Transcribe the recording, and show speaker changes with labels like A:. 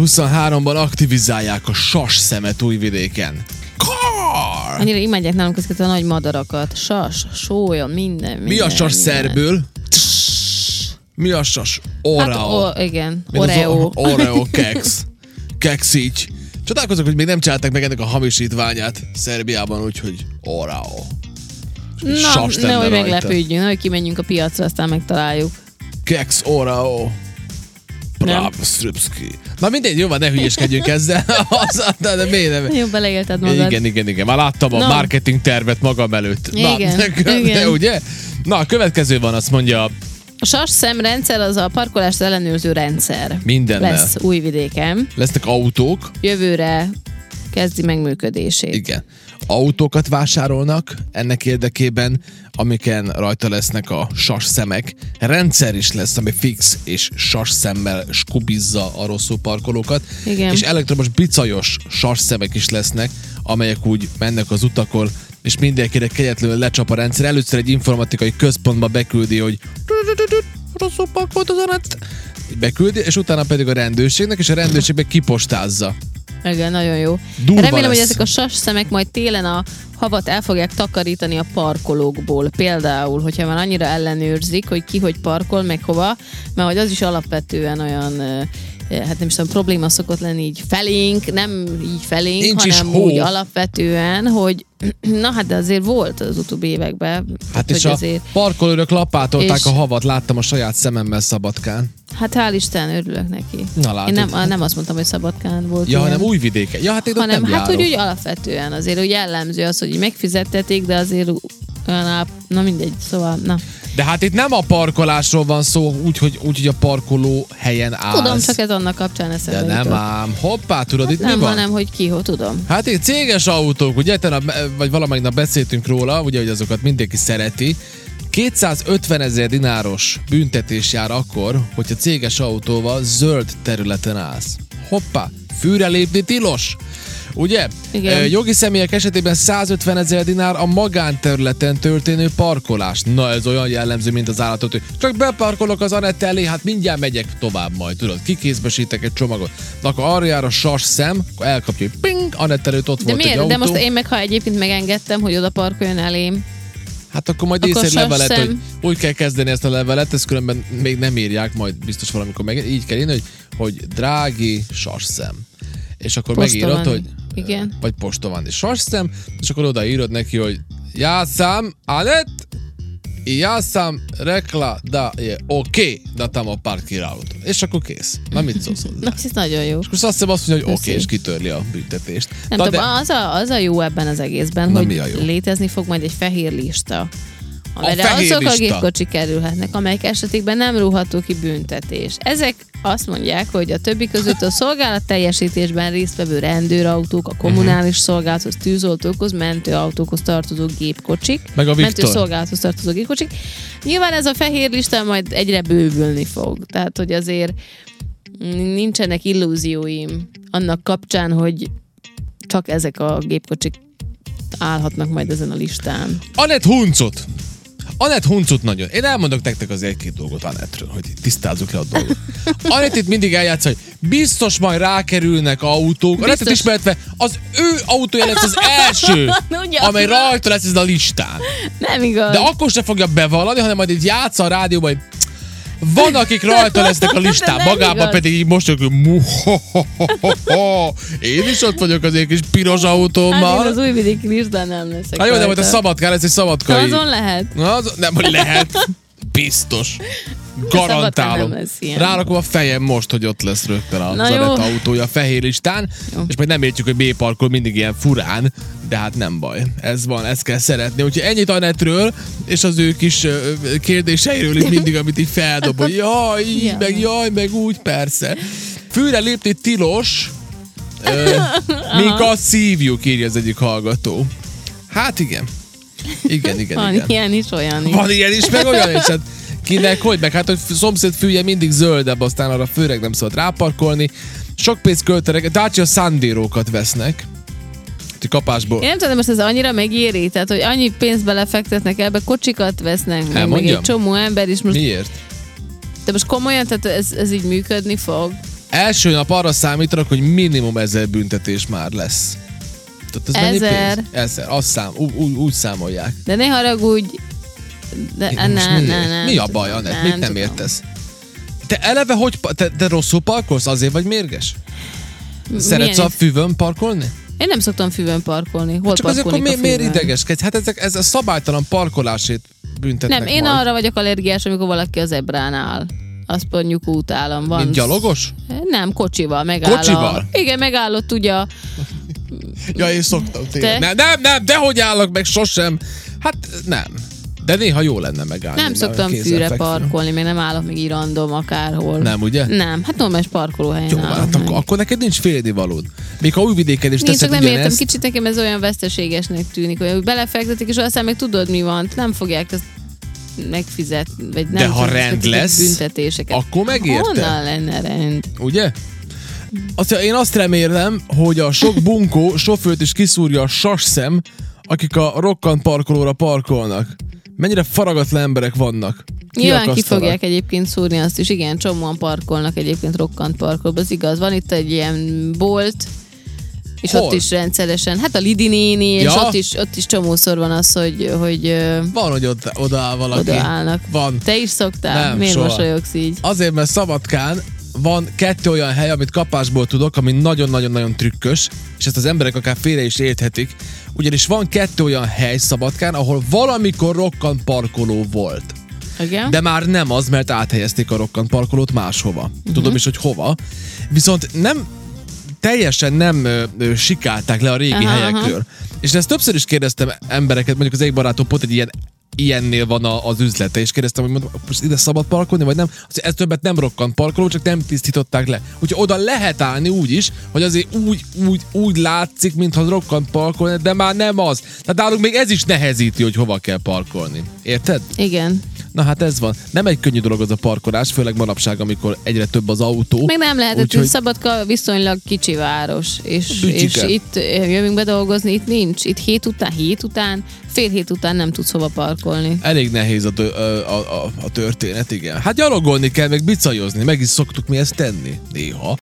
A: 2023-ban aktivizálják a sas szemet újvidéken. Kar!
B: Annyira imádják nálunk ezeket a nagy madarakat. Sas, sójon, minden, minden
A: Mi a sas
B: minden.
A: szerből? Tss! Mi a sas? Oreo.
B: Hát, o, igen,
A: Meg az
B: Oreo.
A: o- Oreo keks. Keks így. Csodálkozok, hogy még nem csinálták meg ennek a hamisítványát Szerbiában, úgyhogy Oreo.
B: Na,
A: sas lenne
B: nehogy
A: rajta.
B: meglepődjünk, nehogy kimenjünk a piacra, aztán megtaláljuk.
A: Keks Oreo. Bravo, Stripski. Na mindegy, jó van, ne hülyeskedjünk ezzel. Az, de, de miért nem?
B: Jó, beleélted magad.
A: Igen, igen, igen. Már láttam a
B: Na.
A: marketing tervet magam előtt. Na,
B: Igen,
A: de,
B: igen.
A: ugye? Na, a következő van, azt mondja
B: A sas szemrendszer az a parkolást ellenőrző rendszer.
A: mindennel.
B: Lesz újvidéken.
A: Lesznek autók,
B: Jövőre kezdi meg működését.
A: igen. Autókat vásárolnak ennek érdekében, amiken rajta lesznek a sas szemek. Rendszer is lesz, ami fix és sas szemmel skubizza a rosszul parkolókat.
B: Igen.
A: És elektromos bicajos sas szemek is lesznek, amelyek úgy mennek az utakon, és mindenkire kegyetlenül lecsap a rendszer. Először egy informatikai központba beküldi, hogy rosszul parkolt az a rendszer. Beküldi, és utána pedig a rendőrségnek, és a rendőrségbe kipostázza.
B: Igen, nagyon jó.
A: Durva
B: Remélem,
A: lesz.
B: hogy ezek a sas szemek majd télen a havat el fogják takarítani a parkolókból. Például, hogyha már annyira ellenőrzik, hogy ki hogy parkol, meg hova, mert hogy az is alapvetően olyan ö, hát nem is tudom, probléma szokott lenni így felénk, nem így felénk,
A: Nincs is
B: hanem
A: hó.
B: úgy alapvetően, hogy na hát de azért volt az utóbbi években.
A: Hát
B: Tehát,
A: és
B: hogy
A: a
B: azért,
A: parkolőrök lapátolták
B: És-
A: a havat, láttam a saját szememmel Szabadkán.
B: Hát hál' Isten, örülök neki.
A: Na, látod.
B: Én nem, á, nem azt mondtam, hogy Szabadkán volt
A: Ja,
B: ilyen.
A: hanem újvidéke. Ja, hát én ott
B: hanem
A: nem
B: hát
A: járok.
B: úgy, úgy alapvetően azért úgy jellemző az, hogy megfizettetik, de azért olyan áp... na mindegy, szóval na.
A: De hát itt nem a parkolásról van szó, úgyhogy úgy, hogy a parkoló helyen állsz.
B: Tudom, csak ez annak kapcsán eszembe
A: De nem
B: jutott.
A: ám. Hoppá, tudod, itt
B: nem
A: mi van?
B: hanem hogy ki, hogy tudom.
A: Hát itt céges autók, ugye, te nap, vagy valamelyik nap beszéltünk róla, ugye, hogy azokat mindenki szereti. 250 ezer dináros büntetés jár akkor, hogyha céges autóval zöld területen állsz. Hoppá, fűre lépni tilos! Ugye?
B: Igen.
A: Ö, Jogi személyek esetében 150 ezer dinár a magánterületen történő parkolás. Na ez olyan jellemző, mint az állatot, hogy csak beparkolok az Anett elé, hát mindjárt megyek tovább majd, tudod, kikézbesítek egy csomagot. Na akkor arra jár a sas szem, akkor elkapja, hogy ping, Anett előtt ott
B: De
A: volt egy
B: miért?
A: autó.
B: De most én meg, ha egyébként megengedtem, hogy oda parkoljon elém.
A: Hát akkor majd
B: Akkor
A: írsz egy
B: sas
A: levelet,
B: szem.
A: hogy úgy kell kezdeni ezt a levelet, ezt különben még nem írják, majd biztos valamikor meg. Így kell írni, hogy, hogy drági sasszem. És akkor
B: Posta
A: megírod,
B: van.
A: hogy
B: Igen.
A: vagy posta van, és sasszem, és akkor odaírod neki, hogy jászám, anet, jászám, rekla, da, je, oké, okay, da tam a parkirálót. És akkor kész. Na mit szólsz hozzá?
B: Na, ez nagyon jó.
A: És akkor azt azt mondja, hogy oké, okay,
B: Köszi.
A: és kitörli a büntetést.
B: Nem
A: Na
B: tudom,
A: de-
B: az a, az a jó ebben az egészben,
A: Na,
B: hogy
A: mi a jó?
B: létezni fog majd egy fehér lista. Amelyre
A: fehér
B: azok a
A: lista.
B: gépkocsik kerülhetnek, amelyek esetében nem rúható ki büntetés. Ezek azt mondják, hogy a többi között a szolgálatteljesítésben résztvevő rendőrautók, a
A: Mhm.
B: kommunális szolgálathoz, tűzoltókhoz, mentőautókhoz tartozó gépkocsik,
A: Meg a Viktor.
B: mentőszolgálathoz tartozó gépkocsik. Nyilván ez a fehér lista majd egyre bővülni fog. Tehát, hogy azért nincsenek illúzióim annak kapcsán, hogy csak ezek a gépkocsik állhatnak majd ezen a listán.
A: Anett Huncut. Anett Huncut nagyon. Én elmondok nektek az egy-két dolgot Anettről, hogy tisztázzuk le a dolgot. Anett itt mindig eljátsz, hogy biztos majd rákerülnek autók. Anettet
B: Biztos.
A: ismertve az ő autója lesz az első,
B: Ugye,
A: amely
B: na.
A: rajta lesz ezen a listán.
B: Nem igaz.
A: De akkor se fogja bevallani, hanem majd így játsza a rádióban, hogy van, akik rajta lesznek a listán,
B: De nem
A: magában
B: igaz.
A: pedig így mosolyog, én is ott vagyok az én kis piros
B: hát én az
A: autómmal.
B: újvidéki listán nem leszek.
A: Hát jó, de
B: rajta.
A: majd a szabadkár, ez egy
B: Na,
A: szabadkai.
B: Azon lehet.
A: Na, az, nem, hogy lehet. Biztos.
B: Szabadkán
A: Garantálom.
B: nem lesz ilyen.
A: Rárakom a fejem most, hogy ott lesz rögtön a
B: Na
A: Zanett
B: jó.
A: autója a fehér listán,
B: Jó.
A: és majd nem értjük, hogy B parkol mindig ilyen furán, de hát nem baj. Ez van, ezt kell szeretni. Úgyhogy ennyit Anettről, és az ő kis ö, ö, kérdéseiről itt mindig, amit így feldob, hogy jaj, így,
B: Ja.
A: meg jaj, meg úgy, persze. Főre lépni tilos, ö, mink a szívjuk, írja az egyik hallgató. Hát igen. Igen, igen,
B: Van
A: igen.
B: ilyen is, olyan is.
A: Van ilyen is, meg olyan is. Hát kinek hogy, meg hát, hogy szomszéd fülje mindig zöldebb, aztán arra főleg nem szabad ráparkolni. Sok pénzt költenek, Dacia Sandero-kat vesznek. Ti kapásból.
B: Én nem tudom, most ez annyira megéri, tehát, hogy annyi pénzt belefektetnek ebbe, kocsikat
A: Hát,
B: vesznek, meg, meg
A: Elmondjam?
B: egy csomó ember is most.
A: Miért?
B: De most komolyan, tehát ez, ez így működni fog.
A: Első nap arra számítanak, hogy minimum ezer büntetés már lesz. Tehát ez mennyi
B: Ezer.
A: pénz? Ezer. Azt szám, ú, ú, úgy számolják.
B: De ne haragudj, de
A: Mi-
B: ne,
A: most
B: ne,
A: miért?
B: ne, nem
A: Mi a
B: tudom,
A: baj, Anett? Mit nem
B: tudom.
A: értesz? Te eleve hogy... pa- Te, te rosszul parkolsz? Azért vagy mérges?
B: M-
A: Szeretsz
B: milyen-
A: a fűvön parkolni?
B: Én nem szoktam füvön parkolni. Hol
A: Hát Csak azért akkor
B: parkolnék
A: mi,
B: a
A: miért
B: füvön?
A: idegeskedsz? Hát ezek, ez a szabálytalan parkolásét büntetnek
B: Nem, én
A: majd.
B: arra vagyok allergiás, amikor valaki az ebrán áll. Azt mondjuk utálom. Van
A: Mint gyalogos?
B: Nem, kocsival megállom.
A: Kocsival?
B: Igen, megállott ugye. a-
A: Ja, én szoktam tényleg.
B: Te?
A: Nem, nem, nem, dehogy állok meg sosem. Hát nem. De néha jó lenne megállni.
B: Nem szoktam
A: kézzel
B: fűre
A: fekvő.
B: parkolni, még nem állok még így random akárhol.
A: Nem, ugye?
B: Nem, hát normális parkolóhelyen
A: Jó,
B: állok
A: hát
B: meg.
A: akkor, akkor neked nincs félnivalód. Még ha újvidéken is
B: Nincs,
A: teszed
B: csak nem értem,
A: ugyanezt,
B: kicsit nekem ez olyan veszteségesnek tűnik, hogy belefektetik, és aztán még tudod, mi van, Hát nem fogják ezt megfizet, vagy nem
A: De ha
B: fogják
A: rend
B: megfizetni
A: lesz,
B: büntetéseket.
A: akkor megérte.
B: Honnan lenne rend?
A: ugye? Azt, én azt remélem, hogy a sok bunkó sofőrt is kiszúrja a sasszem, akik a rokkant parkolóra parkolnak. Mennyire faragatlan emberek vannak.
B: Nyilván ki
A: Kiakasztanak.
B: fogják egyébként szúrni azt is, igen, csomóan parkolnak egyébként rokkant parkolóban, az igaz. Van itt egy ilyen bolt, és
A: Hol?
B: ott is rendszeresen, hát a Lidi néni, és
A: Ja.
B: ott is, ott is csomószor van az, hogy, hogy ö,
A: Van, hogy oda, oda áll valaki.
B: oda állnak.
A: Van.
B: Te is szoktál?
A: Nem,
B: Miért
A: soha.
B: mosolyogsz így?
A: Azért, mert Szabadkán van kettő olyan hely, amit kapásból tudok, ami nagyon-nagyon-nagyon trükkös, és ezt az emberek akár félre is érthetik, ugyanis van kettő olyan hely Szabadkán, ahol valamikor rokkant parkoló volt.
B: Igen?
A: De már nem az, mert áthelyezték a rokkant parkolót máshova. Uh-huh. Tudom is, hogy hova. Viszont nem teljesen nem ö, ö, sikálták le a régi aha,
B: Aha,
A: helyekről. Aha. És ezt többször is kérdeztem embereket, mondjuk az egy barátom pont egy ilyen ilyennél van a, az üzlete, és kérdeztem, hogy mondom, most ide szabad parkolni, vagy nem? Azt, ez többet nem rokkant parkoló, csak nem tisztították le. Úgyhogy oda lehet állni úgy is, hogy azért úgy, úgy, úgy látszik, mintha rokkant parkolni, de már nem az. Tehát nálunk még ez is nehezíti, hogy hova kell parkolni. Érted?
B: Igen.
A: Na hát ez van. Nem egy könnyű dolog az a parkolás, főleg manapság, amikor egyre több az autó.
B: Meg nem lehetett,
A: Úgyhogy-
B: hogy Szabadka viszonylag kicsi város, és, és
A: Bütyike.
B: itt eh, jövünk bedolgozni, itt nincs. Itt hét után, hét után, fél hét után nem tudsz hova parkolni.
A: Elég nehéz a, tö- a, a, a történet, igen. Hát gyalogolni kell, meg bicajozni, meg is szoktuk mi ezt tenni néha.